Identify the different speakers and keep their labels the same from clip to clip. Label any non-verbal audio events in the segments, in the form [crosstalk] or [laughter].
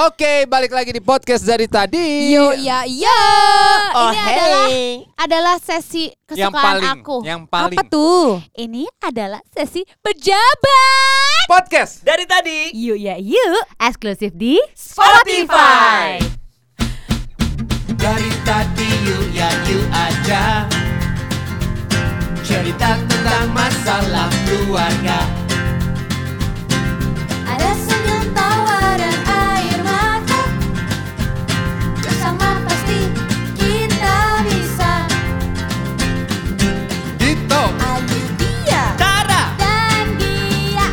Speaker 1: Oke, balik lagi di podcast dari tadi.
Speaker 2: Yo ya ya.
Speaker 3: Oh
Speaker 2: ini adalah
Speaker 3: hey.
Speaker 2: adalah sesi kesukaan
Speaker 1: yang paling,
Speaker 2: aku.
Speaker 1: yang paling
Speaker 2: Apa tuh? Ini adalah sesi pejabat.
Speaker 1: podcast.
Speaker 3: Dari tadi
Speaker 2: Yuk ya yuk. Eksklusif di
Speaker 3: Spotify.
Speaker 4: Dari tadi yuk ya yuk aja Cerita tentang masalah keluarga
Speaker 5: Ada senyum tawa dan air mata Bersama pasti kita bisa
Speaker 4: Dito,
Speaker 1: Gitu.
Speaker 5: Ayu dia
Speaker 4: Tara
Speaker 5: dan dia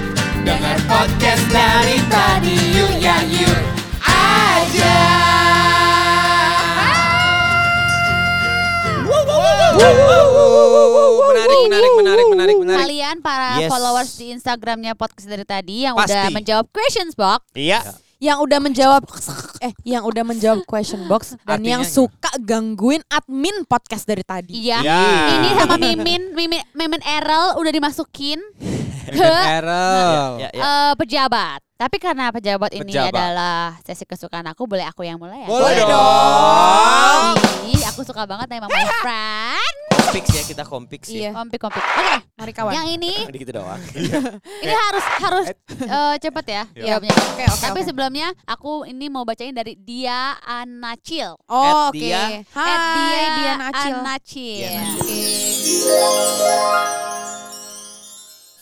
Speaker 4: Dengar podcast dari tadi yuk ya yuk aja
Speaker 1: Menarik, menarik, menarik, menarik, menarik.
Speaker 2: Kalian para
Speaker 3: Yes.
Speaker 2: followers di Instagramnya podcast dari tadi yang
Speaker 1: Pasti.
Speaker 2: udah menjawab questions box,
Speaker 3: Iya
Speaker 6: yang udah menjawab eh yang udah menjawab question box dan
Speaker 1: Artinya
Speaker 6: yang
Speaker 1: gimana?
Speaker 6: suka gangguin admin podcast dari tadi.
Speaker 2: iya.
Speaker 1: Iya.
Speaker 2: Ini sama Mimin, Mimin, Mimin Erel udah
Speaker 1: [laughs]
Speaker 2: dimasukin ke
Speaker 1: Errol.
Speaker 3: Ya, ya.
Speaker 2: eh, pejabat. Tapi karena pejabat ini
Speaker 1: Pejabat.
Speaker 2: adalah sesi kesukaan aku, boleh aku yang mulai ya?
Speaker 1: Boleh dong.
Speaker 2: Ih, aku suka banget nih sama
Speaker 1: [laughs]
Speaker 2: my friend.
Speaker 3: Kompik ya kita kompik sih
Speaker 6: Iya.
Speaker 2: Kompik kompik. Oke,
Speaker 6: Mari kawan.
Speaker 2: yang ini
Speaker 3: Gitu doang
Speaker 2: ini harus harus eh, cepet ya
Speaker 1: Iya.
Speaker 2: jawabnya.
Speaker 6: Oke, oke,
Speaker 2: Tapi
Speaker 6: oke.
Speaker 2: sebelumnya aku ini mau bacain dari Dia Anacil.
Speaker 6: Oh,
Speaker 3: At
Speaker 6: oke.
Speaker 3: dia.
Speaker 6: Hai, Iya,
Speaker 2: At Dia,
Speaker 6: dia Nacil.
Speaker 2: Anacil.
Speaker 3: Dia Nacil.
Speaker 2: Oke.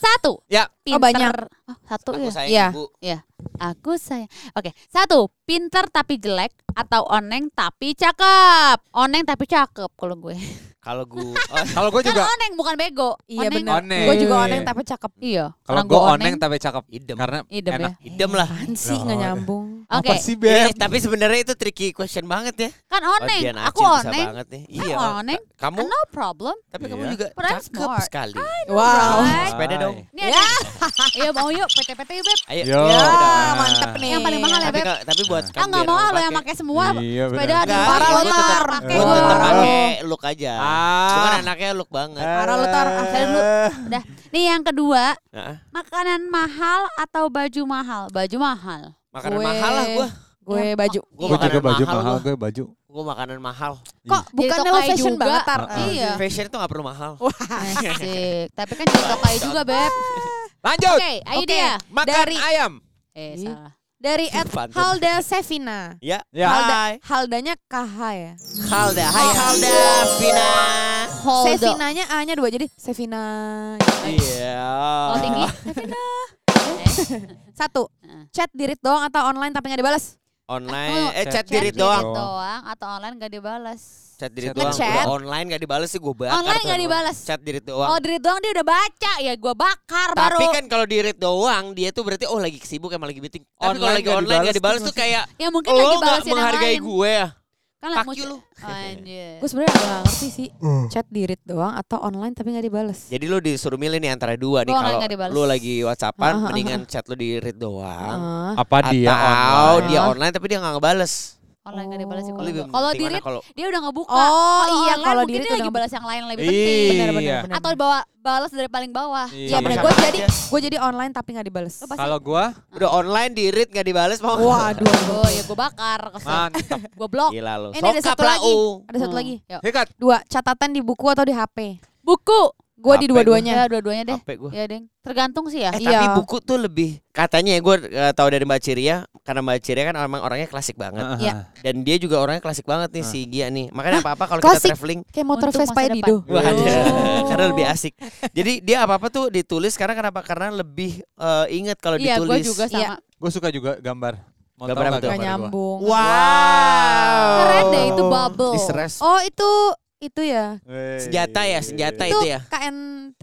Speaker 2: Satu.
Speaker 1: Ya.
Speaker 2: Pinter.
Speaker 6: banyak.
Speaker 2: Oh, satu
Speaker 3: Aku
Speaker 2: ya.
Speaker 3: sayang
Speaker 6: Iya.
Speaker 3: ibu
Speaker 2: Ya, aku sayang. Oke, satu, pinter tapi jelek atau oneng tapi cakep. Oneng tapi cakep kalau gue.
Speaker 3: Kalau gue
Speaker 2: [laughs]
Speaker 3: oh,
Speaker 1: Kalau gue juga
Speaker 2: Kan oneng bukan bego.
Speaker 6: Iya
Speaker 2: Oneng-
Speaker 6: benar.
Speaker 1: Oneng.
Speaker 6: Gue juga oneng tapi cakep.
Speaker 2: Iya.
Speaker 1: kalau
Speaker 2: orang
Speaker 1: gue oneng tapi cakep
Speaker 3: Idem.
Speaker 1: karena
Speaker 2: Idem ya.
Speaker 1: enak.
Speaker 3: Idem lah
Speaker 6: Apaan sih
Speaker 2: Iya.
Speaker 6: nggak nyambung?
Speaker 2: Oke,
Speaker 1: Apa sih
Speaker 3: Eh,
Speaker 1: Beb?
Speaker 3: Tapi sebenarnya itu tricky question banget ya
Speaker 2: kan oneng.
Speaker 3: Dian
Speaker 2: aku
Speaker 3: Acil bisa
Speaker 2: oneng.
Speaker 3: banget nih.
Speaker 2: Kan
Speaker 3: Iya
Speaker 2: oneng.
Speaker 3: Kamu
Speaker 2: No problem.
Speaker 3: Tapi kamu
Speaker 1: Iya.
Speaker 3: juga
Speaker 2: But I'm
Speaker 3: cakep
Speaker 2: smart.
Speaker 3: sekali
Speaker 6: Wow.
Speaker 2: Alright.
Speaker 3: Sepeda dong
Speaker 2: Ini ada. [laughs] Iya mau yuk PT-PT yuk, Beb.
Speaker 3: Ayo
Speaker 1: Yo.
Speaker 3: Iya, udah.
Speaker 6: Ah, mantep nih.
Speaker 2: Yang paling mahal ya,
Speaker 3: tapi,
Speaker 2: Beb.
Speaker 3: kan ka- tapi buat
Speaker 2: Ah nggak mau ah lo yang pakai semua.
Speaker 1: Iya, benar.
Speaker 2: Sepeda di
Speaker 3: Enggak,
Speaker 2: rumah
Speaker 6: Parah,
Speaker 2: gua
Speaker 6: lu,
Speaker 2: tetap
Speaker 6: Tar.
Speaker 2: pakai
Speaker 3: Gue
Speaker 6: Gua.
Speaker 3: tetap
Speaker 2: gua.
Speaker 3: pakai look aja
Speaker 1: Ah. Eh.
Speaker 3: Bukan anaknya look banget
Speaker 6: Parah lu, Tar. Ah,
Speaker 2: Saya dulu. Udah. Nih yang kedua,
Speaker 3: Nah,
Speaker 2: makanan mahal atau baju mahal? Baju mahal.
Speaker 3: Makanan
Speaker 6: Gue-
Speaker 3: mahal lah gue
Speaker 6: Gue baju.
Speaker 3: Gue
Speaker 7: Gue juga
Speaker 3: makanan
Speaker 7: baju
Speaker 3: mahal,
Speaker 7: mahal,
Speaker 3: gue.
Speaker 7: gue baju.
Speaker 3: Gue makanan mahal
Speaker 6: Kok
Speaker 2: Jadi
Speaker 6: bukan lo
Speaker 2: tokai
Speaker 6: fashion
Speaker 2: juga.
Speaker 6: banget tar.
Speaker 2: Heeh. Iya.
Speaker 3: Fashion tuh gak perlu mahal
Speaker 2: Asik. Tapi kan jadi tokai juga, Beb.
Speaker 1: Lanjut.
Speaker 2: Oke, ayo
Speaker 6: Oke.
Speaker 2: dia.
Speaker 1: Makan
Speaker 6: Dari-
Speaker 1: ayam.
Speaker 2: Eh,
Speaker 6: Ih.
Speaker 2: salah.
Speaker 6: Dari Ed
Speaker 3: Pantun.
Speaker 6: Halda Sevina.
Speaker 3: Ya
Speaker 2: Iya,
Speaker 1: Ya.
Speaker 3: Hai
Speaker 6: Haldanya KH ya.
Speaker 3: Halda Hai Halda Vina
Speaker 2: Holdo.
Speaker 6: Sevinanya A-nya dua jadi Sevina.
Speaker 3: Iya
Speaker 2: Oh, tinggi.
Speaker 6: Satu.
Speaker 2: Heeh.
Speaker 6: Chat dirit doang atau online tapi nggak dibalas?
Speaker 3: Online Eh chat
Speaker 1: Chat
Speaker 3: diri
Speaker 2: gitu.
Speaker 1: diri
Speaker 3: doang
Speaker 2: doang atau online gak dibales.
Speaker 3: Chat diri
Speaker 1: Chat.
Speaker 3: doang
Speaker 6: Ngechat.
Speaker 3: Udah online gak dibales sih gue bakar
Speaker 2: Online
Speaker 3: tuh
Speaker 2: nggak
Speaker 3: emang.
Speaker 2: dibales.
Speaker 3: Chat diri
Speaker 2: Oh,
Speaker 3: doang
Speaker 2: diri doang dia udah baca ya, gua bakar baru.
Speaker 3: tapi kan kalau di read doang dia tuh berarti oh lagi sibuk emang lagi meeting. Tapi kalau
Speaker 1: Online
Speaker 3: lagi
Speaker 1: nggak
Speaker 3: online gak
Speaker 1: dibales
Speaker 3: dibales tuh kayak "Oh,
Speaker 2: ya mungkin
Speaker 3: lo
Speaker 2: lagi
Speaker 3: gak
Speaker 2: balesin yang
Speaker 3: menghargai
Speaker 2: lain.
Speaker 3: gue ya.
Speaker 2: Kan
Speaker 3: Fuck
Speaker 2: muncul-
Speaker 3: you lu.
Speaker 2: [laughs] Anjir.
Speaker 6: Gue sebenarnya nggak ngerti sih chat di read doang atau online tapi nggak dibales.
Speaker 3: Jadi lu disuruh milih nih antara dua nih
Speaker 2: Gua online
Speaker 3: kalau
Speaker 2: nggak dibales.
Speaker 3: lu lagi WhatsAppan mendingan chat lu di read doang.
Speaker 6: Ah.
Speaker 1: Apa dia
Speaker 3: Atau
Speaker 1: online?
Speaker 3: dia online tapi dia gak ngebales.
Speaker 2: Online gak dibales sih
Speaker 6: Oh.
Speaker 2: kalau
Speaker 3: Lebih
Speaker 2: gua. Kalau
Speaker 3: penting
Speaker 2: diri
Speaker 3: mana kalau
Speaker 2: dia udah ngebuka.
Speaker 6: Oh, iya,
Speaker 2: online
Speaker 6: kalau
Speaker 2: mungkin
Speaker 6: diri
Speaker 2: dia
Speaker 6: tuh
Speaker 2: lagi
Speaker 6: udah
Speaker 2: balas yang lain lebih penting.
Speaker 1: Iya.
Speaker 6: benar, benar.
Speaker 2: Atau bawa balas dari paling bawah.
Speaker 6: Iya benar.
Speaker 3: Sama-sama
Speaker 6: Gue
Speaker 3: aja.
Speaker 6: jadi gue jadi online tapi nggak dibales.
Speaker 1: Kalau gue
Speaker 3: udah online di read gak dibales mau.
Speaker 6: Waduh.
Speaker 2: Gue ya gue bakar, kesel.
Speaker 1: mantap.
Speaker 2: Gue blok.
Speaker 3: Gila lu.
Speaker 6: Ini ada
Speaker 3: Sokap
Speaker 6: satu
Speaker 3: lah,
Speaker 6: lagi.
Speaker 3: U.
Speaker 6: Ada satu
Speaker 2: Hmm.
Speaker 6: lagi.
Speaker 2: Yuk.
Speaker 1: Hikat.
Speaker 6: Dua catatan di buku atau di HP?
Speaker 2: Buku.
Speaker 6: Gue di
Speaker 3: HP
Speaker 2: Ya
Speaker 6: dua-duanya.
Speaker 2: dua-duanya deh.
Speaker 3: Capek gue.
Speaker 2: Ya, Deng. Tergantung sih ya.
Speaker 3: Eh,
Speaker 6: Iya.
Speaker 3: tapi buku tuh lebih katanya ya gue tahu dari Mbak Ciria karena Mbak Ciria kan emang orangnya klasik banget
Speaker 6: Iya.
Speaker 3: dan dia juga orangnya klasik banget nih si Gia nih makanya apa apa kalau
Speaker 6: klasik?
Speaker 3: kita traveling
Speaker 6: Kayak motor
Speaker 2: Untuk
Speaker 6: Vespa Oh.
Speaker 2: masa
Speaker 6: ya Dido.
Speaker 3: Wah, ada. karena lebih asik. Jadi dia apa apa tuh ditulis karena kenapa? Karena lebih eh, inget kalau
Speaker 2: Iya, gue
Speaker 3: ditulis.
Speaker 2: juga
Speaker 6: Iya.
Speaker 2: sama.
Speaker 1: Gue suka juga gambar. Mau
Speaker 3: Gambar apa
Speaker 1: tahu
Speaker 3: tuh?
Speaker 1: nggak
Speaker 6: Gak
Speaker 3: Gambar
Speaker 1: gambar gua?
Speaker 6: nyambung.
Speaker 3: Wow.
Speaker 2: Keren deh itu
Speaker 3: [laughs]
Speaker 2: bubble.
Speaker 3: Di stress.
Speaker 6: Oh itu itu ya.
Speaker 1: Wey.
Speaker 3: Senjata ya, senjata
Speaker 6: Itu
Speaker 3: itu ya.
Speaker 6: KNT.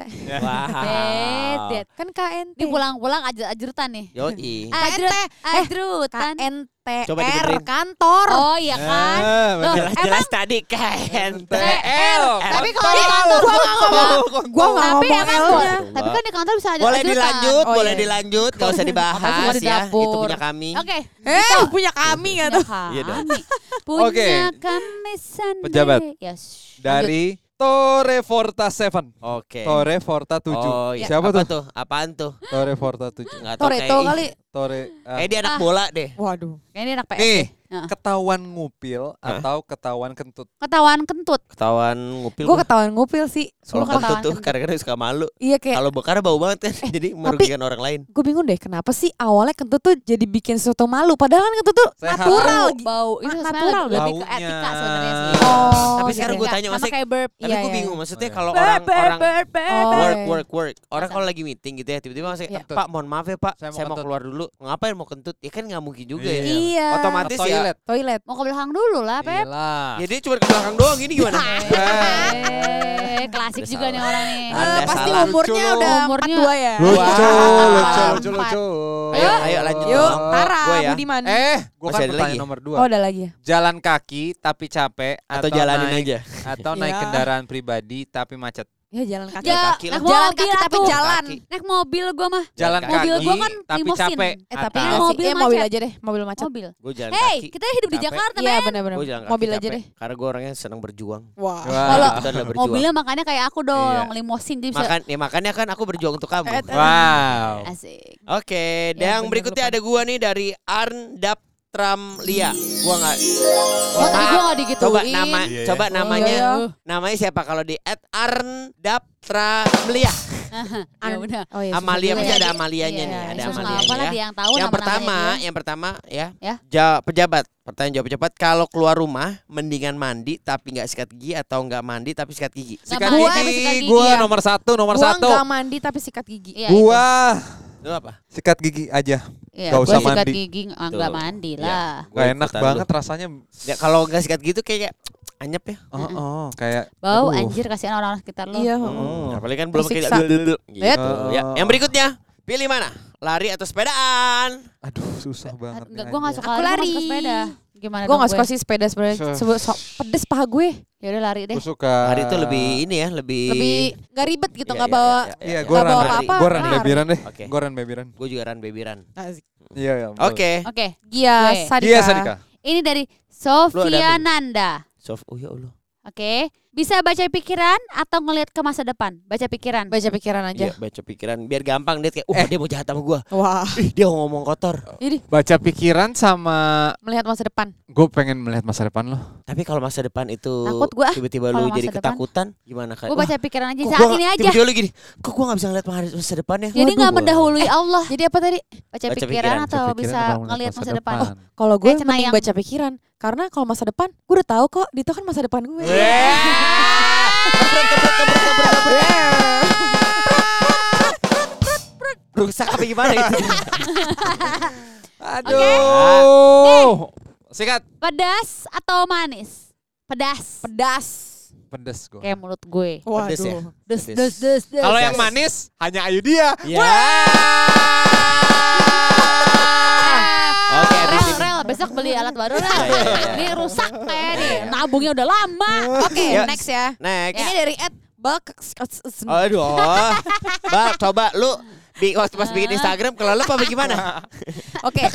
Speaker 2: Bed,
Speaker 3: Wow.
Speaker 2: bed.
Speaker 6: Kan KNT.
Speaker 3: Ah.
Speaker 2: Ini pulang-pulang ajur-ajurutan nih.
Speaker 3: Yoi.
Speaker 2: Ajrut, ajrutan.
Speaker 6: KNTR
Speaker 3: Coba digedein.
Speaker 6: kantor.
Speaker 2: Oh iya kan.
Speaker 1: Eh,
Speaker 2: Loh,
Speaker 1: bener.
Speaker 3: Jelas-jelas tadi kan? KNTL.
Speaker 2: Eh, Tapi kalau di kantor
Speaker 6: Gua nggak ngomong. Gua nggak
Speaker 2: tapi ya
Speaker 6: ngomong
Speaker 2: kan,
Speaker 6: L-nya.
Speaker 2: bo- tapi kan di kantor bisa ajur
Speaker 3: Boleh dilanjut,
Speaker 6: Oh,
Speaker 3: boleh
Speaker 6: iya.
Speaker 3: dilanjut, gak usah
Speaker 2: Makasih
Speaker 3: dibahas
Speaker 2: buat di
Speaker 3: ya. Itu
Speaker 2: dapur.
Speaker 3: punya kami.
Speaker 2: Oke.
Speaker 6: Eh punya kami
Speaker 2: Iya
Speaker 6: nggak tuh.
Speaker 2: Punya
Speaker 1: [laughs]
Speaker 3: Iya dong.
Speaker 2: kami. Punya
Speaker 1: Oke.
Speaker 2: kami sendiri. Ya,
Speaker 1: Pejabat.
Speaker 2: Yes.
Speaker 1: Dari Torre Forta 7.
Speaker 3: Oke.
Speaker 1: Torre Forta 7.
Speaker 3: Oh, iya.
Speaker 1: Siapa
Speaker 3: Apa
Speaker 1: tuh?
Speaker 3: tuh? Apaan tuh?
Speaker 1: Torre Forta 7.
Speaker 3: Enggak
Speaker 6: Toreto kali.
Speaker 1: Torre ah.
Speaker 2: Eh,
Speaker 3: Kayak dia anak bola deh.
Speaker 6: Waduh.
Speaker 2: Ini anak PS.
Speaker 1: Nih,
Speaker 2: Heeh.
Speaker 1: ketahuan ngupil atau ketahuan kentut?
Speaker 2: Ketahuan kentut.
Speaker 3: Ketahuan ngupil.
Speaker 6: Gue ketahuan ngupil sih.
Speaker 3: Kalau
Speaker 2: Lu
Speaker 6: Sumpah.
Speaker 3: kentut
Speaker 2: ketahuan
Speaker 3: tuh
Speaker 2: kentut.
Speaker 3: kadang-kadang suka malu.
Speaker 6: Iya Eh, kayak
Speaker 3: Kalau bekar bau banget kan. Jadi merugikan orang lain.
Speaker 6: gue bingung deh kenapa sih awalnya kentut tuh jadi bikin sesuatu malu. Padahal kan kentut tuh
Speaker 1: Sehat.
Speaker 6: natural. gitu.
Speaker 2: Bau, bau. Itu
Speaker 6: Ma-
Speaker 2: sebenarnya
Speaker 6: natural
Speaker 2: lebih, lebih ke
Speaker 1: baunya.
Speaker 2: etika sebenarnya sih.
Speaker 6: Oh,
Speaker 3: Tapi
Speaker 6: gitu
Speaker 3: sekarang
Speaker 6: ya.
Speaker 3: gue tanya,
Speaker 2: Sama
Speaker 3: maksudnya-
Speaker 2: kayak burp.
Speaker 3: Tapi
Speaker 6: Iya,
Speaker 3: gue
Speaker 6: iya,
Speaker 3: bingung maksudnya
Speaker 1: iya.
Speaker 3: kalau orang-orang
Speaker 6: Oh,
Speaker 3: work
Speaker 6: iya.
Speaker 3: work work orang kalau lagi meeting gitu ya tiba-tiba masih
Speaker 1: Iya.
Speaker 3: pak mohon maaf ya pak
Speaker 1: Saya
Speaker 3: saya
Speaker 1: mau
Speaker 3: mau,
Speaker 1: kentut."
Speaker 3: keluar dulu ngapain mau kentut ya kan nggak mungkin juga
Speaker 1: Iya.
Speaker 3: ya
Speaker 6: Iya.
Speaker 3: otomatis
Speaker 1: Ke
Speaker 3: ya
Speaker 1: toilet.
Speaker 6: toilet.
Speaker 2: Mau ke belakang dulu lah,
Speaker 1: Iya.
Speaker 2: Pep.
Speaker 1: Gila.
Speaker 3: ya dia cuma ke belakang doang ini
Speaker 2: [laughs]
Speaker 3: gimana
Speaker 6: Iya.
Speaker 2: Eh, Klasik
Speaker 3: Udah
Speaker 2: juga nih
Speaker 3: salah.
Speaker 2: orang nih.
Speaker 3: Ah, Anda
Speaker 6: Eh, pasti
Speaker 3: salah.
Speaker 6: umurnya
Speaker 1: Lucu lu.
Speaker 6: udah
Speaker 2: Umurnya-
Speaker 6: 42 ya.
Speaker 1: Lucu,
Speaker 2: Wah.
Speaker 1: lucu, lucu,
Speaker 2: Empat.
Speaker 1: lucu.
Speaker 3: Ayo, ayo, lanjut
Speaker 6: Yuk,
Speaker 3: dong.
Speaker 6: Tara,
Speaker 3: Gua ya.
Speaker 6: Budiman.
Speaker 1: Eh,
Speaker 3: Masih
Speaker 1: gua kan
Speaker 3: ada
Speaker 1: pertanyaan
Speaker 3: lagi?
Speaker 1: nomor dua.
Speaker 6: Oh, udah lagi ya.
Speaker 1: Jalan kaki tapi capek atau,
Speaker 3: atau jalanin
Speaker 1: naik,
Speaker 3: aja
Speaker 1: [laughs] atau naik
Speaker 6: Ya.
Speaker 1: kendaraan pribadi tapi macet.
Speaker 6: Ya jalan kaki.
Speaker 2: Ya,
Speaker 3: kaki lah.
Speaker 2: naik mobil
Speaker 6: Jalan kaki tapi
Speaker 2: atuh.
Speaker 6: jalan.
Speaker 3: Kaki.
Speaker 2: Naik mobil gua mah.
Speaker 1: Jalan
Speaker 3: Jalan
Speaker 1: kaki
Speaker 2: Mobil gua kan
Speaker 1: tapi
Speaker 2: limosin.
Speaker 1: capek.
Speaker 6: Eh tapi
Speaker 3: Ah,
Speaker 1: atau
Speaker 6: enggak sih,
Speaker 2: mobil
Speaker 6: ya mobil
Speaker 2: macet.
Speaker 6: aja deh, mobil macet.
Speaker 2: Mobil.
Speaker 3: gue jalan
Speaker 2: Hey,
Speaker 3: kaki
Speaker 2: kita hidup di
Speaker 1: Capek.
Speaker 2: Jakarta,
Speaker 6: Iya
Speaker 2: Beb.
Speaker 6: benar-benar.
Speaker 3: gue jalan kaki
Speaker 6: Mobil aja
Speaker 3: capek.
Speaker 6: deh.
Speaker 3: karena gue orangnya senang berjuang
Speaker 6: Wah.
Speaker 1: Wah.
Speaker 2: Kalau
Speaker 3: itu adalah berjuang Iya.
Speaker 2: mobilnya makanya kayak aku dong, limosin dia bisa.
Speaker 3: Makan, ya makanya kan aku berjuang untuk kamu.
Speaker 6: Eh,
Speaker 3: Oke,
Speaker 6: t-
Speaker 1: Wow.
Speaker 2: Asik.
Speaker 3: dan
Speaker 6: Ya, bener,
Speaker 3: yang berikutnya
Speaker 6: lupa.
Speaker 3: ada gua nih dari Arndap Tramlia. Gua nggak.
Speaker 2: Oh, tadi gua nggak digituin.
Speaker 3: Coba nama, coba namanya,
Speaker 6: iya, iya.
Speaker 3: namanya siapa kalau di at Arndap Tramlia.
Speaker 2: Ya udah.
Speaker 6: Oh, iya, susah
Speaker 3: Amalia
Speaker 6: juga
Speaker 3: mesti
Speaker 6: ya.
Speaker 3: ada Amalianya
Speaker 2: Iya,
Speaker 3: nih, ada
Speaker 2: iya, susah.
Speaker 3: Amalia.
Speaker 2: Apalah
Speaker 3: ya.
Speaker 2: dia yang tahu
Speaker 3: yang
Speaker 2: nama-namanya
Speaker 3: pertama,
Speaker 2: dia.
Speaker 3: yang pertama ya.
Speaker 2: Ya.
Speaker 3: Ja- pejabat. Pertanyaan jawab pejabat. Kalau keluar rumah, mendingan mandi tapi nggak sikat gigi atau nggak mandi tapi sikat gigi.
Speaker 1: Sikat
Speaker 2: mandi tapi
Speaker 1: gigi,
Speaker 2: sikat kan gigi
Speaker 1: gua
Speaker 2: ya.
Speaker 1: nomor satu, nomor
Speaker 6: Gua
Speaker 1: satu.
Speaker 6: nggak mandi tapi sikat gigi.
Speaker 2: Iya, itu.
Speaker 1: Gua
Speaker 3: Itu apa?
Speaker 1: sikat gigi aja.
Speaker 2: Iya,
Speaker 1: Nggak
Speaker 2: gua
Speaker 1: usah
Speaker 2: sikat
Speaker 1: mandi.
Speaker 2: gigi ah, nggak
Speaker 3: Tuh.
Speaker 2: mandi
Speaker 3: Iya.
Speaker 2: lah.
Speaker 1: Gak
Speaker 3: Gua
Speaker 1: enak
Speaker 3: ikutan
Speaker 1: banget [laughs]
Speaker 3: lu.
Speaker 1: rasanya.
Speaker 3: Ya, kalau nggak sikat gitu kayak anyep ya.
Speaker 1: Oh, oh, kayak
Speaker 2: Bau
Speaker 1: aduh.
Speaker 2: anjir kasihan orang-orang sekitar lu.
Speaker 6: Iya, heeh.
Speaker 3: Hmm,
Speaker 1: Oh.
Speaker 3: apalagi kan belum
Speaker 6: Tersiksa.
Speaker 3: kayak dulu gitu.
Speaker 6: Lihat.
Speaker 3: Ya. Yang berikutnya, pilih mana? Lari atau sepedaan?
Speaker 1: Aduh, susah banget.
Speaker 2: Enggak,
Speaker 1: nih
Speaker 2: gua nggak
Speaker 1: anjir.
Speaker 2: suka
Speaker 6: Aku
Speaker 2: lari, gua nggak suka
Speaker 6: lari.
Speaker 2: sepeda. Gimana
Speaker 6: Gue
Speaker 2: dong
Speaker 6: gak suka sih sepeda sebenarnya.
Speaker 1: Seh.
Speaker 6: Sebut so, pedes paha gue.
Speaker 2: Ya udah lari deh.
Speaker 1: Gua suka.
Speaker 3: Lari itu lebih ini ya, lebih
Speaker 6: Lebih gak ribet gitu,
Speaker 3: Iya,
Speaker 6: gak
Speaker 3: iya,
Speaker 6: bawa.
Speaker 3: iya,
Speaker 1: Iya,
Speaker 3: iya.
Speaker 1: gua
Speaker 6: Nggak
Speaker 1: ran.
Speaker 6: bawa apa-apa,
Speaker 1: Gua ran
Speaker 6: lari.
Speaker 1: bebiran deh.
Speaker 3: Oke.
Speaker 1: Gua ran bebiran.
Speaker 3: Gue juga ran bebiran.
Speaker 1: Iya, iya. betul.
Speaker 3: Oke.
Speaker 2: Oke.
Speaker 6: Gia
Speaker 2: Gue.
Speaker 6: Sadika.
Speaker 1: Iya, Sadika.
Speaker 2: Ini dari
Speaker 3: Lu ada
Speaker 2: Sofia
Speaker 3: apa nih?
Speaker 2: Nanda.
Speaker 3: Sof, oh ya Allah.
Speaker 2: Oke. Bisa baca pikiran atau ngelihat ke masa depan? Baca pikiran.
Speaker 6: Baca pikiran aja.
Speaker 3: Iya, baca pikiran biar gampang dia kayak, "Uh,
Speaker 1: Eh.
Speaker 3: dia mau jahat sama gua."
Speaker 6: Wah.
Speaker 3: Ih, dia ngomong kotor.
Speaker 6: Jadi
Speaker 1: Baca pikiran sama
Speaker 6: melihat masa depan.
Speaker 1: gue pengen melihat masa depan lo.
Speaker 3: Tapi kalau masa depan itu
Speaker 2: Takut gua, ah,
Speaker 3: tiba-tiba
Speaker 2: kalau
Speaker 3: lu
Speaker 2: masa
Speaker 3: jadi
Speaker 2: depan.
Speaker 3: ketakutan, gimana kan?
Speaker 2: Gue baca pikiran aja
Speaker 3: Kok
Speaker 2: saat
Speaker 3: gua-
Speaker 2: ini aja.
Speaker 3: Tiba-tiba lu gini, kok gua gak bisa ngeliat masa- masa depannya?
Speaker 2: Jadi
Speaker 3: Waduh,
Speaker 2: nggak
Speaker 3: gua- Eh,
Speaker 2: mendahului Allah.
Speaker 6: Jadi apa tadi?
Speaker 2: Baca
Speaker 3: Baca pikiran,
Speaker 2: pikiran atau
Speaker 1: Baca pikiran apa
Speaker 2: bisa
Speaker 1: melihat
Speaker 2: ngelihat masa depan? Oh.
Speaker 6: Kalau gue
Speaker 2: Kayak
Speaker 6: mending
Speaker 2: cenayang.
Speaker 6: baca pikiran. Karena kalau masa depan, gue udah tahu kok. Dito kan masa depan gue.
Speaker 4: Iya.
Speaker 3: Rusak apa gimana
Speaker 2: [laughs]
Speaker 3: itu?
Speaker 1: Aduh. Sikat.
Speaker 2: Pedas atau manis? Pedas.
Speaker 6: Pedas.
Speaker 1: Pedes gue.
Speaker 2: Kayak mulut gue.
Speaker 3: Pedes ya?
Speaker 6: Waduh.
Speaker 2: Des
Speaker 3: Pedes.
Speaker 2: des des des.
Speaker 1: Kalau yang manis hanya Ayu dia.
Speaker 3: Ya. Ah. Oke, habis
Speaker 2: Ah, Rel,
Speaker 3: ini.
Speaker 2: rel, besok beli alat baru rel.
Speaker 3: Iya, iya, iya.
Speaker 2: Ini rusak kayak nih. Nabungnya udah lama.
Speaker 6: Oke,
Speaker 3: Yuk.
Speaker 6: next ya.
Speaker 3: Next.
Speaker 6: Ini dari Ed Bak.
Speaker 4: Oh.
Speaker 3: Aduh. Bal, coba lu bi waktu pas bikin Instagram kelelep apa
Speaker 2: [laughs]
Speaker 3: gimana?
Speaker 6: Oke.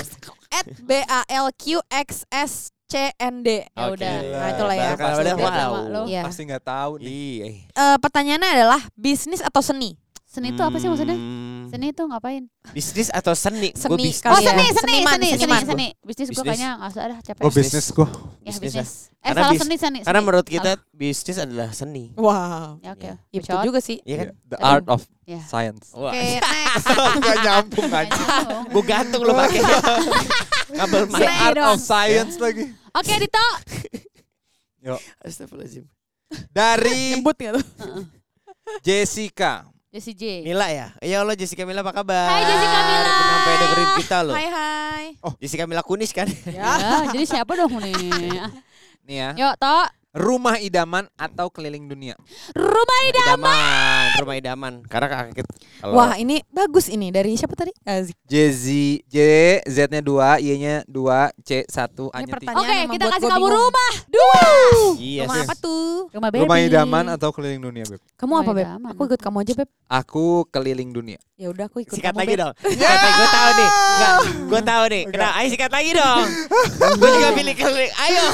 Speaker 6: At B A L Q X S C N D. Ya
Speaker 3: Oke.
Speaker 6: udah. Nah, itulah ya.
Speaker 3: Baru
Speaker 1: Pasti
Speaker 3: kalau udah
Speaker 1: udah
Speaker 3: wow.
Speaker 2: sama lu.
Speaker 6: Iya.
Speaker 1: Pasti nggak tahu nih.
Speaker 3: Iya.
Speaker 6: Eh, pertanyaannya adalah bisnis atau seni?
Speaker 2: Seni itu apa sih maksudnya?
Speaker 3: Hmm,
Speaker 2: Seni itu ngapain?
Speaker 3: Bisnis atau seni? Gua
Speaker 6: Seni
Speaker 3: bisnis.
Speaker 6: kali
Speaker 2: Oh
Speaker 6: ya.
Speaker 2: seni, seni,
Speaker 6: Seniman,
Speaker 2: seni, seni,
Speaker 6: seniman.
Speaker 2: seni. Bisnis gue
Speaker 3: Bisnis. Oh,
Speaker 2: kayaknya nggak usah ada capek.
Speaker 1: Gue bisnis gue.
Speaker 2: Ya
Speaker 3: Bisnis
Speaker 2: bisnis. Eh
Speaker 3: Karena
Speaker 2: salah
Speaker 3: bis-
Speaker 2: seni, seni.
Speaker 3: Karena
Speaker 2: seni.
Speaker 3: menurut kita bisnis adalah seni.
Speaker 6: Wow.
Speaker 2: Ya, Oke.
Speaker 3: Iya.
Speaker 6: Ya,
Speaker 2: Bacot.
Speaker 6: betul juga sih.
Speaker 3: Iya kan?
Speaker 1: The art of
Speaker 2: Iya.
Speaker 1: science.
Speaker 3: Wah.
Speaker 6: Oke, next.
Speaker 1: Gak nyambung
Speaker 2: Nggak
Speaker 1: aja.
Speaker 2: nyambung.
Speaker 3: Gue gantung lu pakai.
Speaker 1: [laughs]
Speaker 3: Kabel
Speaker 1: The
Speaker 3: mic.
Speaker 6: Seni
Speaker 1: art
Speaker 6: doang.
Speaker 1: of science
Speaker 3: Ya. [laughs]
Speaker 1: lagi.
Speaker 2: [laughs] Oke Dito.
Speaker 3: Astagfirullahaladzim.
Speaker 1: Dari
Speaker 6: Nyebut nggak tuh?
Speaker 1: Jessica.
Speaker 2: Jesse J.
Speaker 6: Iya.
Speaker 3: Mila ya? Ya Allah Jessica Mila apa kabar?
Speaker 2: Hai, Jessica Mila.
Speaker 3: Sampai dengerin kita loh. Oh,
Speaker 6: Hai hai.
Speaker 3: Jessica Mila kunis kan?
Speaker 2: Ya, jadi siapa dong
Speaker 6: [laughs]
Speaker 2: nih?
Speaker 1: Nih ya.
Speaker 2: Yuk Tok.
Speaker 1: Rumah idaman atau keliling dunia.
Speaker 2: Rumah ini
Speaker 3: idaman. Rumah idaman. Karena kaget. kalau-
Speaker 6: Wah, ini bagus ini dari siapa tadi? Azik.
Speaker 1: Jezi J Z-nya 2, Y-nya 2, C
Speaker 6: Ini
Speaker 1: 1, A-nya 3.
Speaker 6: pertanyaan
Speaker 2: Oke, kita
Speaker 6: yang membuat
Speaker 2: kasih
Speaker 6: gua
Speaker 2: kamu
Speaker 6: bingung.
Speaker 2: rumah dua.
Speaker 3: Iya
Speaker 6: Rumah
Speaker 3: sih.
Speaker 6: apa tuh?
Speaker 2: Rumah baby.
Speaker 1: Rumah idaman atau keliling dunia, Beb?
Speaker 6: Kamu
Speaker 2: Rumah
Speaker 6: apa, Beb?
Speaker 2: idaman.
Speaker 6: Aku ikut kamu aja, Beb.
Speaker 1: Aku keliling dunia.
Speaker 6: Ya udah aku ikut
Speaker 3: Sikat
Speaker 6: kamu,
Speaker 3: lagi
Speaker 6: Beb. [laughs]
Speaker 3: dong. Gue tahu nih. Enggak, gue tahu
Speaker 6: [laughs]
Speaker 3: nih. Kenapa? Ayo sikat lagi dong. Gue juga pilih keliling. Ayo,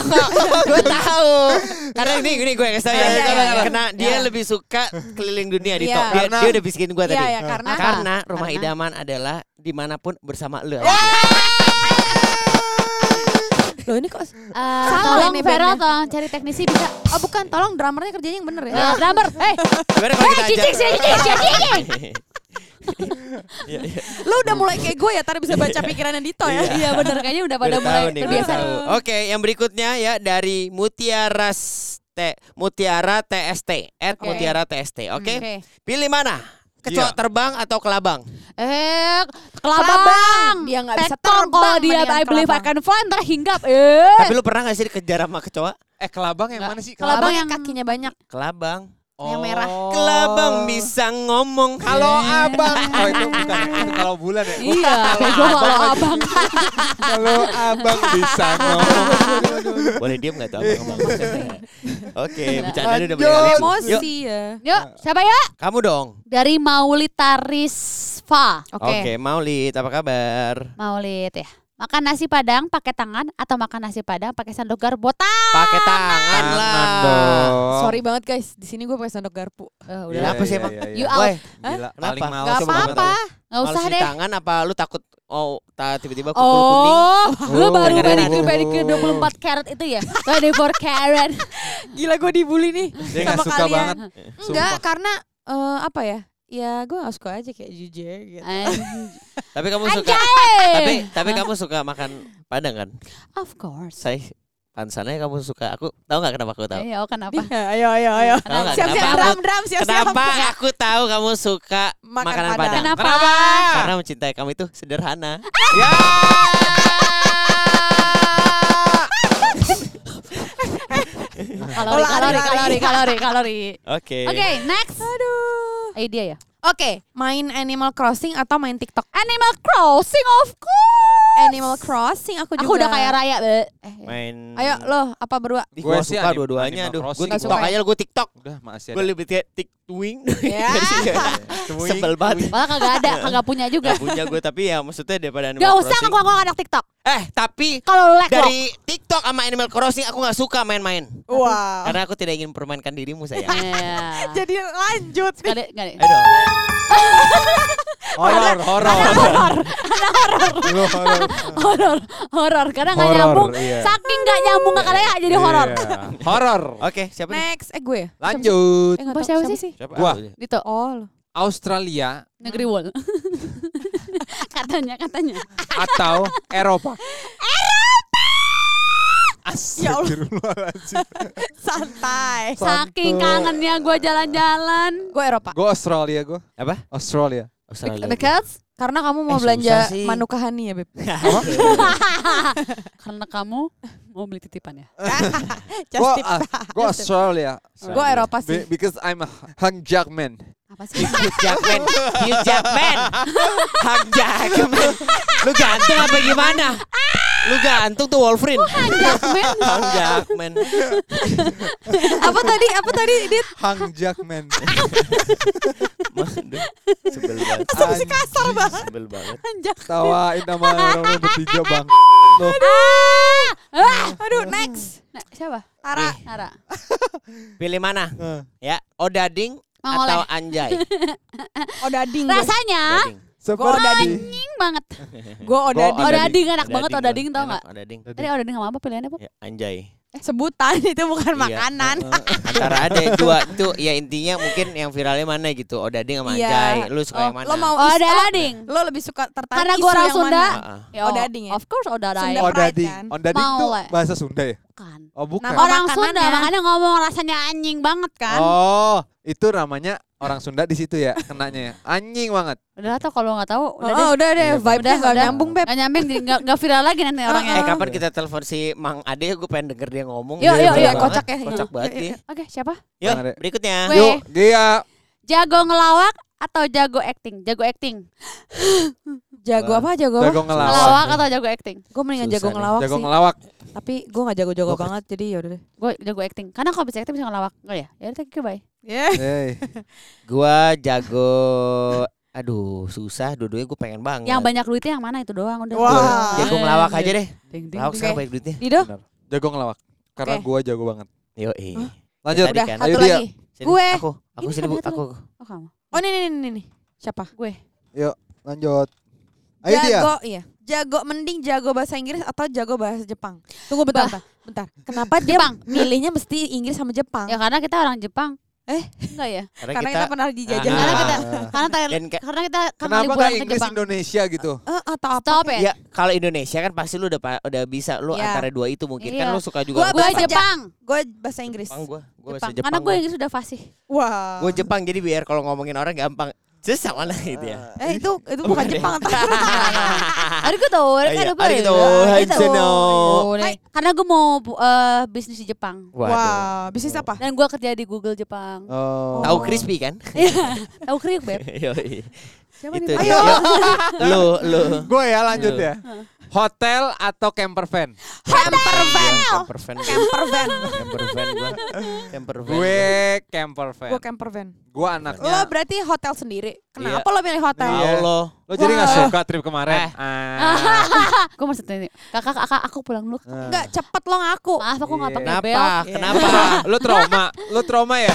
Speaker 3: gue tahu. Karena ini ini gue kasih tau ya.
Speaker 6: Iya, iya, iya.
Speaker 3: Karena dia lebih suka keliling dunia di
Speaker 6: Iya.
Speaker 3: top. Dia,
Speaker 1: Karena-
Speaker 3: dia udah bisikin gue tadi.
Speaker 6: Iya, ya, karena Iya.
Speaker 2: Apa?
Speaker 3: Karena rumah
Speaker 2: Karena?
Speaker 3: idaman adalah dimanapun bersama lu.
Speaker 6: Loh ini kok
Speaker 2: Eh,
Speaker 6: Salah
Speaker 2: tolong
Speaker 6: ini
Speaker 2: Vera
Speaker 6: bandnya.
Speaker 2: tolong cari teknisi bisa.
Speaker 6: Oh bukan, Oh, tolong dramernya kerjanya yang bener ya.
Speaker 2: Eh, Drummer, hey,
Speaker 3: Gimana
Speaker 6: Eh,
Speaker 2: hey,
Speaker 3: kalau kita
Speaker 2: cicik,
Speaker 3: ajak?
Speaker 2: cicik, cicik, cicik.
Speaker 3: Iya, iya.
Speaker 6: Lu udah mulai kayak gue ya, tadi bisa baca pikirannya Dito ya.
Speaker 2: Iya bener, kayaknya udah pada
Speaker 3: Udah
Speaker 2: mulai
Speaker 3: tahu nih, udah
Speaker 2: terbiasa.
Speaker 3: tahu. [laughs] Oke, yang berikutnya ya dari Mutiara S- T Mutiara TST. At
Speaker 2: Oke.
Speaker 3: Mutiara TST. Oke.
Speaker 2: Oke.
Speaker 3: Pilih mana? Kecoa
Speaker 4: Iya.
Speaker 3: terbang atau kelabang?
Speaker 2: Eh,
Speaker 6: Kelabang.
Speaker 2: kelabang.
Speaker 6: Dia nggak bisa
Speaker 2: Tekor,
Speaker 6: terbang
Speaker 2: Kalau dia
Speaker 6: mendingan
Speaker 2: I believe I
Speaker 6: kelabang.
Speaker 2: can fly, ntar hinggap. Eh,
Speaker 3: Tapi lu pernah gak sih dikejar sama kecoa?
Speaker 1: Eh kelabang yang mana sih?
Speaker 2: Kelabang
Speaker 6: Kelabang yang
Speaker 2: yang-
Speaker 6: kakinya banyak.
Speaker 3: Kelabang. Oh.
Speaker 6: yang merah.
Speaker 1: Oh.
Speaker 3: Kelabang bisa ngomong.
Speaker 1: Halo abang. Oh itu bukan. Itu kalau bulan ya.
Speaker 2: iya. Kayak gua kalau abang.
Speaker 1: Kalau abang bisa ngomong.
Speaker 3: Boleh diem gak tuh abang? [laughs] Oke, bercanda udah
Speaker 1: Lanjut.
Speaker 3: berkali. Yuk,
Speaker 6: Emosi ya.
Speaker 2: Yuk, siapa ya?
Speaker 3: kamu dong.
Speaker 2: Dari Maulita Risfa.
Speaker 6: Oke.
Speaker 3: Oke, Maulid, apa kabar?
Speaker 2: Maulid ya. Makan nasi padang pakai tangan atau makan nasi padang pakai sendok garbotan?
Speaker 3: Pakai tangan lah.
Speaker 6: Sorry banget guys, di sini gue pakai sendok garpu.
Speaker 2: Eh,
Speaker 3: Udah
Speaker 2: udah.
Speaker 1: Iya,
Speaker 3: apa sih
Speaker 1: iya,
Speaker 3: emang?
Speaker 1: iya, iya.
Speaker 2: You out.
Speaker 3: Weh,
Speaker 1: Gila,
Speaker 3: Kenapa?
Speaker 1: paling males.
Speaker 6: Gak
Speaker 3: coba
Speaker 6: apa-apa.
Speaker 2: Nggak
Speaker 3: Males
Speaker 2: usah
Speaker 3: di
Speaker 2: deh.
Speaker 3: tangan apa lu takut oh ta- tiba-tiba kuku kuning?
Speaker 2: Oh, lu
Speaker 1: Oh.
Speaker 2: baru
Speaker 3: Keren-keren.
Speaker 2: pedicure pedicure 24 karat itu ya? 24 karat.
Speaker 6: Gila gue dibully nih.
Speaker 1: Dia gak
Speaker 6: Sama
Speaker 1: suka
Speaker 6: kalian.
Speaker 1: banget.
Speaker 6: Enggak, karena eh, apa ya? Ya gue gak suka aja kayak jujur gitu.
Speaker 2: Eh,
Speaker 3: Tapi kamu suka
Speaker 2: Anjay.
Speaker 3: tapi tapi kamu suka makan padang kan?
Speaker 2: Of course.
Speaker 3: Saya pansannya kamu suka. Aku tahu nggak kenapa aku tahu?
Speaker 2: Ayo oh, kenapa?
Speaker 6: Iya, ayo, ayo, ayo.
Speaker 3: Tahu nggak
Speaker 6: Siap-siap
Speaker 3: kenapa?
Speaker 6: dram,
Speaker 3: aku-
Speaker 6: dram, siap-siap.
Speaker 3: Kenapa aku tahu kamu suka
Speaker 6: Makan
Speaker 3: makanan
Speaker 6: padang.
Speaker 3: padang?
Speaker 2: Kenapa? [laughs]
Speaker 3: Karena mencintai kamu itu sederhana.
Speaker 1: Ya.
Speaker 2: Kalori, kalori, kalori, kalori, kalori.
Speaker 3: Oke.
Speaker 2: Oke, next.
Speaker 6: Aduh.
Speaker 2: Eh dia ya.
Speaker 6: Oke, main Animal Crossing atau main TikTok?
Speaker 2: Animal Crossing of course.
Speaker 6: Animal Crossing aku juga.
Speaker 2: Aku udah kayak Raya. Be. Eh,
Speaker 3: Main
Speaker 6: Ayo loh, apa berdua?
Speaker 3: Ih,
Speaker 1: Gue
Speaker 3: gua
Speaker 1: sih
Speaker 3: suka
Speaker 1: anim-
Speaker 3: dua-duanya
Speaker 1: Animal
Speaker 3: aduh. Gue
Speaker 1: Crossing.
Speaker 3: TikTok
Speaker 6: Gak suka
Speaker 3: aja gue Tiktok.
Speaker 1: Udah makasih
Speaker 3: Gue lebih kayak TikTwing.
Speaker 6: Ya.
Speaker 3: Sebel banget.
Speaker 2: Malah kagak ada, kagak punya juga.
Speaker 3: Gak punya gue tapi ya maksudnya daripada Animal
Speaker 2: Gak usah
Speaker 3: Crossing.
Speaker 2: ngaku-ngaku anak TikTok.
Speaker 3: Eh tapi
Speaker 2: Kalau lu lek lo.
Speaker 3: dari TikTok sama Animal Crossing aku nggak suka main-main.
Speaker 6: Oh. Wow.
Speaker 3: Karena aku tidak ingin mempermainkan dirimu
Speaker 2: [laughs]
Speaker 3: sayang.
Speaker 2: Iya.
Speaker 6: Jadi lanjut.
Speaker 2: Gak ada- gak ada.
Speaker 3: Aduh.
Speaker 1: Horor, horor. Horor.
Speaker 6: [laughs]
Speaker 1: Lu horor.
Speaker 2: [laughs] Horor, horor. Karena gak
Speaker 1: Horor,
Speaker 2: nyambung.
Speaker 1: iya.
Speaker 2: Saking gak nyambung gak kalian jadi horor.
Speaker 1: Iya. Horor.
Speaker 3: Oke, siapa nih?
Speaker 6: Next, eh gue. ya?
Speaker 1: Lanjut.
Speaker 6: Eh, nggak
Speaker 2: Bos
Speaker 6: tahu.
Speaker 2: siapa sih?
Speaker 3: Siapa?
Speaker 1: Gua.
Speaker 3: Aku.
Speaker 2: Dito.
Speaker 6: Oh, lo.
Speaker 1: Australia
Speaker 2: Negeri Wol. [laughs] katanya, katanya. [laughs]
Speaker 1: atau Eropa. Eropa. Astagfirullahaladzim.
Speaker 6: Ya [laughs] santai.
Speaker 2: Saking kangennya gue jalan-jalan.
Speaker 6: Gue Eropa.
Speaker 1: Gue Australia gue.
Speaker 3: Apa?
Speaker 1: Australia.
Speaker 3: Australia.
Speaker 2: Because
Speaker 6: Karena kamu mau
Speaker 3: Eh,
Speaker 6: belanja
Speaker 3: susah sih.
Speaker 6: manukahani ya, Beb.
Speaker 2: karena kamu mau beli titipan ya.
Speaker 6: Just
Speaker 1: Gue
Speaker 6: tip.
Speaker 1: gue Australia.
Speaker 6: Gue Eropa sih.
Speaker 1: Be- because I'm a hung jackman.
Speaker 2: Apa sih?
Speaker 3: Hugh Jackman, Hugh Jackman, Hugh Jackman. Lu gantung apa gimana? Lu gantung tuh Wolverine.
Speaker 2: Jackman.
Speaker 3: Hugh Jackman.
Speaker 6: apa tadi? Apa tadi? Dit?
Speaker 1: Hung
Speaker 6: [laughs]
Speaker 1: jackman.
Speaker 3: Aduh, Sebel banget.
Speaker 1: Anjing,
Speaker 6: kasar banget.
Speaker 3: Sebel banget.
Speaker 1: Tawain sama orang bertiga bang. Loh,
Speaker 2: Ah! Ah!
Speaker 6: Aduh, next.
Speaker 2: Nah, siapa?
Speaker 6: Tara.
Speaker 2: Nara.
Speaker 3: Pilih
Speaker 6: Nah,
Speaker 3: mana?
Speaker 1: eh,
Speaker 3: Ya, Odading
Speaker 2: Mang
Speaker 3: atau Anjay?
Speaker 6: Odading. gue.
Speaker 2: Rasanya
Speaker 3: Odading.
Speaker 1: seperti-
Speaker 2: ding banget.
Speaker 6: Gue odading.
Speaker 1: Gua Odading.
Speaker 2: Odading enak banget odading tau
Speaker 3: enak,
Speaker 2: gak?
Speaker 3: Odading.
Speaker 2: Tadi Eh, odading sama apa pilihannya, Pop?
Speaker 3: Ya, Anjay.
Speaker 6: Eh, Sebutan [laughs] itu bukan
Speaker 3: Iya.
Speaker 6: makanan.
Speaker 3: Antara ada dua tuh ya intinya mungkin yang viralnya mana gitu. Odading sama
Speaker 6: Iya.
Speaker 3: Anjay. Lu suka
Speaker 6: Oh,
Speaker 3: yang mana?
Speaker 6: Lo mau is- lo-
Speaker 2: Odading.
Speaker 6: Lo lebih suka tertarik
Speaker 2: Karena
Speaker 6: isu
Speaker 2: gue orang
Speaker 6: yang
Speaker 2: Sunda.
Speaker 6: mana?
Speaker 3: Ah, ah.
Speaker 2: Ya,
Speaker 6: Odading ya?
Speaker 2: Of course odading.
Speaker 6: Sunda.
Speaker 1: Odading.
Speaker 6: Pride, kan?
Speaker 1: Odading
Speaker 2: Mau
Speaker 1: tuh
Speaker 2: lah.
Speaker 1: Oh, bahasa Sunda ya?
Speaker 2: Bukan.
Speaker 1: Oh bukan.
Speaker 6: Nama
Speaker 2: Orang
Speaker 6: makanannya.
Speaker 2: Sunda makanya ngomong rasanya anjing banget kan.
Speaker 1: Oh, itu namanya orang Sunda di situ ya kenanya ya. Anjing banget.
Speaker 2: Udah lah tau kalau nggak tahu
Speaker 6: Oh,
Speaker 2: udah deh. Iya,
Speaker 6: udah deh, vibe-nya
Speaker 2: Udah,
Speaker 6: gak
Speaker 2: udah.
Speaker 6: nyambung, Beb. Oh,
Speaker 2: Gak nyambung jadi gak, gak viral lagi
Speaker 6: [laughs]
Speaker 2: nanti orangnya.
Speaker 3: Eh kapan kita telepon si Mang Ade? Gue pengen denger dia ngomong.
Speaker 2: Yuk,
Speaker 3: Dia
Speaker 2: yuk,
Speaker 3: bener
Speaker 2: yuk,
Speaker 3: banget.
Speaker 6: kocak ya.
Speaker 3: Kocak banget
Speaker 6: Yuk, [laughs]
Speaker 3: dia.
Speaker 2: Oke siapa?
Speaker 3: Yuk,
Speaker 1: Mang Ade.
Speaker 3: berikutnya.
Speaker 2: Gue.
Speaker 1: Yuk, Gia.
Speaker 2: Jago ngelawak atau jago acting? Jago acting.
Speaker 6: Jago apa? Jago apa?
Speaker 1: Jago ngelawak.
Speaker 2: Ngelawak atau jago acting?
Speaker 6: Gue mendingan
Speaker 3: Susah
Speaker 6: jago
Speaker 3: nih.
Speaker 6: ngelawak
Speaker 1: Jago
Speaker 6: sih. [laughs]
Speaker 1: ngelawak.
Speaker 6: Tapi gue gak jago-jago
Speaker 1: Gua-
Speaker 6: banget, jadi yaudah deh.
Speaker 2: Gue jago acting. Karena kalau bisa acting bisa ngelawak. Oh ya, ya thank you bye.
Speaker 6: Yeah.
Speaker 1: Hey.
Speaker 3: Gue jago. Aduh, susah. Dua-duanya gue pengen banget.
Speaker 2: Yang banyak duitnya yang mana itu doang udah.
Speaker 6: Iya.
Speaker 2: Iya.
Speaker 6: Wah.
Speaker 3: Gua
Speaker 6: Ah.
Speaker 3: Jago ngelawak aja deh.
Speaker 2: Ding, ding,
Speaker 3: Ngelawak
Speaker 2: ding.
Speaker 3: sekarang banyak duitnya.
Speaker 6: Dido?
Speaker 1: Jago ngelawak. Karena
Speaker 6: Oke.
Speaker 1: gua jago banget.
Speaker 3: Yoi.
Speaker 1: Lanjut.
Speaker 3: Tadi
Speaker 6: Udah,
Speaker 3: kan.
Speaker 6: satu
Speaker 1: Ayo dia.
Speaker 6: lagi.
Speaker 3: Sini,
Speaker 6: Gue.
Speaker 3: Aku, aku
Speaker 2: Ini
Speaker 3: sini bu,
Speaker 2: kan
Speaker 3: aku.
Speaker 2: Oh kamu.
Speaker 6: Oh, ini nih nih nih. Siapa?
Speaker 2: Gue.
Speaker 1: Lanjut. Ayo dia.
Speaker 6: jago, iya. Jago mending jago bahasa Inggris atau jago bahasa Jepang? Tunggu bentar, bentar. bentar. Kenapa dia
Speaker 2: Jepang.
Speaker 6: milihnya mesti Inggris sama Jepang?
Speaker 2: Ya karena kita orang Jepang.
Speaker 6: Iya. Eh?
Speaker 2: Enggak ya?
Speaker 6: karena kita, pernah dijajah.
Speaker 3: Ah.
Speaker 2: Karena kita
Speaker 1: Ah.
Speaker 2: karena kita-
Speaker 3: Dan ke-
Speaker 2: karena kita karena
Speaker 1: Kenapa
Speaker 2: liburan
Speaker 1: gak
Speaker 2: ke
Speaker 1: Inggris
Speaker 2: Jepang.
Speaker 1: Indonesia gitu?
Speaker 6: Eh, atau apa?
Speaker 2: Stop ya.
Speaker 3: Ya kalau Indonesia kan pasti lu udah pa- udah bisa lu
Speaker 6: Iya.
Speaker 3: antara dua itu mungkin
Speaker 2: Iya.
Speaker 3: kan lu suka
Speaker 6: Gua
Speaker 3: juga.
Speaker 2: Gue
Speaker 6: bahasa
Speaker 2: Jepang.
Speaker 6: Gue bahasa Inggris.
Speaker 3: Jepang gua, gua
Speaker 2: Jepang.
Speaker 3: bahasa Jepang.
Speaker 2: Karena gue Inggris udah fasih.
Speaker 6: Wah.
Speaker 3: Gue Jepang jadi biar kalau ngomongin orang gampang. Just sama lah gitu ya.
Speaker 6: Eh itu itu bukan
Speaker 3: Bukan ya?
Speaker 6: Jepang.
Speaker 2: Aduh gue tau,
Speaker 3: iya.
Speaker 2: kan lupa
Speaker 3: Aduh, gitu. Aduh, no.
Speaker 2: Hai, Karena gue mau bu- eh, bisnis di Jepang.
Speaker 3: Waduh.
Speaker 6: Wah, bisnis apa?
Speaker 2: Dan gue kerja di Google Jepang. [laughs] Iya.
Speaker 1: Oh.
Speaker 3: Tahu crispy kan?
Speaker 2: Tahu kriuk beb?
Speaker 3: [laughs] Yoi.
Speaker 2: Siapa
Speaker 3: Itu
Speaker 2: nih?
Speaker 3: dia. Yuk. Lu lu.
Speaker 1: Gue ya lanjut
Speaker 6: Iya.
Speaker 1: ya. Hotel atau camper van?
Speaker 6: Camper van.
Speaker 3: Iya, Camper van.
Speaker 6: Camper van.
Speaker 3: Camper van gua. Camper van.
Speaker 1: Gue camper van.
Speaker 6: Gue camper van.
Speaker 1: Gue
Speaker 6: Lo
Speaker 1: anaknya.
Speaker 6: berarti hotel sendiri. Kenapa lo pilih hotel?
Speaker 1: Iya.
Speaker 3: Ya Allah.
Speaker 1: Lo jadi gak
Speaker 6: Wah.
Speaker 1: suka trip kemarin?
Speaker 3: Eh.
Speaker 2: [laughs]
Speaker 1: Ah.
Speaker 2: Gue maksudnya ini. Kakak, kakak aku pulang dulu.
Speaker 6: Enggak, cepet lo ngaku.
Speaker 2: Maaf aku nggak pakai
Speaker 3: Kenapa?
Speaker 2: bel.
Speaker 3: Kenapa?
Speaker 1: Lo trauma, lo trauma ya?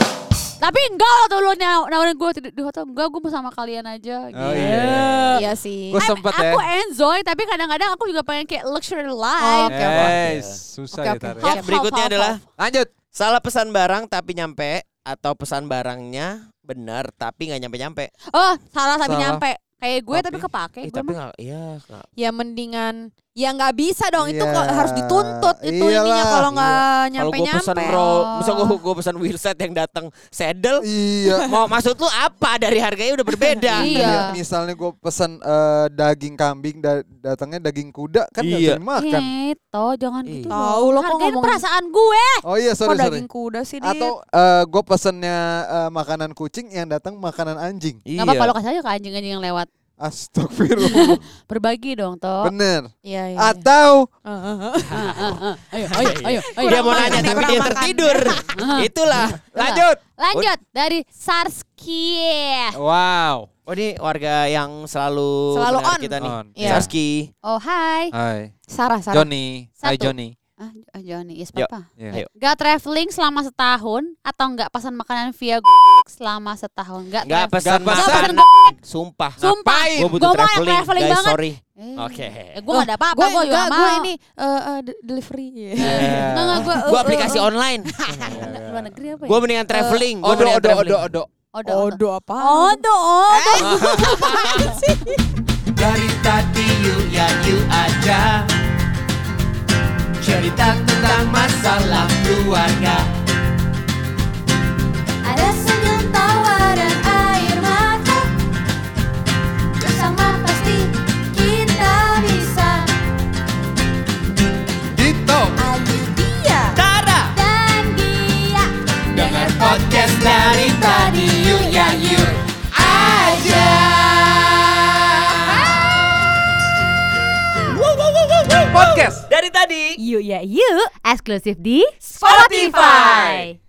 Speaker 2: Tapi enggak waktu lu naw- nawarin gue di, di hotel. Enggak, gue mau sama kalian aja.
Speaker 1: Oh,
Speaker 2: Gitu.
Speaker 1: iya.
Speaker 6: Iya sih.
Speaker 1: Gue sempet ya.
Speaker 2: Aku eh, enjoy, tapi kadang-kadang aku juga pengen kayak luxury life.
Speaker 6: Oke, oke.
Speaker 1: Eh, susah
Speaker 6: Oke,
Speaker 1: ya
Speaker 6: oke.
Speaker 1: Tar, ya.
Speaker 2: Half, half,
Speaker 3: berikutnya
Speaker 2: half,
Speaker 3: adalah-
Speaker 2: half.
Speaker 1: Lanjut.
Speaker 3: Salah pesan barang tapi nyampe atau pesan barangnya benar tapi nggak nyampe-nyampe.
Speaker 2: Oh, salah tapi
Speaker 1: Salah.
Speaker 2: nyampe. Kayak gue tapi
Speaker 3: Tapi-
Speaker 2: kepake.
Speaker 3: Eh,
Speaker 2: Gue
Speaker 3: tapi nggak, iya. nggak.
Speaker 6: Ya mendingan ya nggak bisa dong itu
Speaker 1: Iya.
Speaker 6: kok harus dituntut itu ininya
Speaker 1: Iyalah.
Speaker 6: kalau nggak
Speaker 3: Kalau
Speaker 6: nyampe
Speaker 3: gue pesan
Speaker 6: nyampe. Oh.
Speaker 3: ro, misal gue gue pesan wirset yang datang
Speaker 1: [laughs]
Speaker 3: sedel,
Speaker 1: Iya.
Speaker 3: mau maksud lu apa dari harganya udah berbeda.
Speaker 2: Iya.
Speaker 1: Iya, Misalnya gue pesan eh, daging kambing da- datangnya daging kuda kan nggak
Speaker 3: Iya.
Speaker 1: bisa dimakan.
Speaker 2: Gitu, jangan
Speaker 3: Ih.
Speaker 2: gitu.
Speaker 6: Tahu lo kok
Speaker 2: Hargain
Speaker 6: ngomong
Speaker 2: perasaan gue.
Speaker 1: Oh iya
Speaker 6: kok
Speaker 1: sorry sorry.
Speaker 6: daging kuda sih Dit?
Speaker 1: Atau gue pesennya eh, makanan kucing yang datang makanan anjing.
Speaker 3: Iya.
Speaker 2: Gak apa-apa lo kasih aja ke anjing-anjing yang lewat.
Speaker 1: Astagfirullah.
Speaker 2: Berbagi dong, toh.
Speaker 1: Bener.
Speaker 6: Iya iya.
Speaker 1: Atau
Speaker 2: Ayo, ayo, ayo. ayo.
Speaker 3: Dia Iya, mau
Speaker 6: makan,
Speaker 3: nanya tapi
Speaker 6: kurang
Speaker 3: dia
Speaker 6: makan.
Speaker 3: tertidur. [laughs] Itulah.
Speaker 1: lanjut.
Speaker 2: Lanjut dari Sarski.
Speaker 1: Wow.
Speaker 3: Oh ini warga yang selalu
Speaker 6: Selalu
Speaker 3: mendengar
Speaker 6: on.
Speaker 3: kita nih.
Speaker 1: On. Oh,
Speaker 6: Iya.
Speaker 3: Sarski.
Speaker 2: Oh, hai.
Speaker 1: Hai.
Speaker 6: Sarah Sarah.
Speaker 1: Johnny.
Speaker 2: Satu.
Speaker 1: Hai Johnny.
Speaker 2: Ah, Jo- Johnny, is
Speaker 3: Yo.
Speaker 2: papa.
Speaker 1: Iya.
Speaker 3: Ayo.
Speaker 2: Gak traveling selama setahun atau gak pesan makanan via selama setahun? Gak,
Speaker 3: Nggak
Speaker 2: traveling.
Speaker 3: pesan
Speaker 1: Nggak pesan
Speaker 3: makanan. Sumpah.
Speaker 2: Sumpah,
Speaker 1: Ngapain?
Speaker 3: Gue
Speaker 2: gue
Speaker 3: butuh
Speaker 2: mau yang
Speaker 3: traveling,
Speaker 2: traveling
Speaker 3: guys.
Speaker 2: banget.
Speaker 3: Sorry.
Speaker 2: Eh,
Speaker 3: Oke.
Speaker 2: eh, gue gak ada apa-apa,
Speaker 6: Gue
Speaker 2: gue juga
Speaker 6: enggak,
Speaker 2: mau.
Speaker 6: gue ini eh, eh, de- [laughs] delivery.
Speaker 2: Enggak, enggak, gue.
Speaker 3: Gue Iya. aplikasi
Speaker 2: Uh, Oh,
Speaker 3: online.
Speaker 2: [laughs] Luar negeri apa ya?
Speaker 3: Gue mendingan traveling. Gue
Speaker 1: Odo
Speaker 3: mendingan
Speaker 1: odo odo
Speaker 3: traveling.
Speaker 1: odo.
Speaker 2: Odo, odo.
Speaker 6: Odo apa? Oh,
Speaker 2: Odo, odo.
Speaker 4: Dari tadi yuk ya yuk aja Cerita tentang masalah keluarga
Speaker 5: Ada senyum tawa dan air mata Bersama pasti kita bisa
Speaker 3: Gitu.
Speaker 1: Dito.
Speaker 5: Ayu dia
Speaker 4: Tara
Speaker 5: dan dia
Speaker 4: Dengar podcast dari tadi yuk ya yuk aja
Speaker 1: Podcast.
Speaker 4: Dari tadi
Speaker 2: Yuk ya yuk, eksklusif di
Speaker 4: Spotify.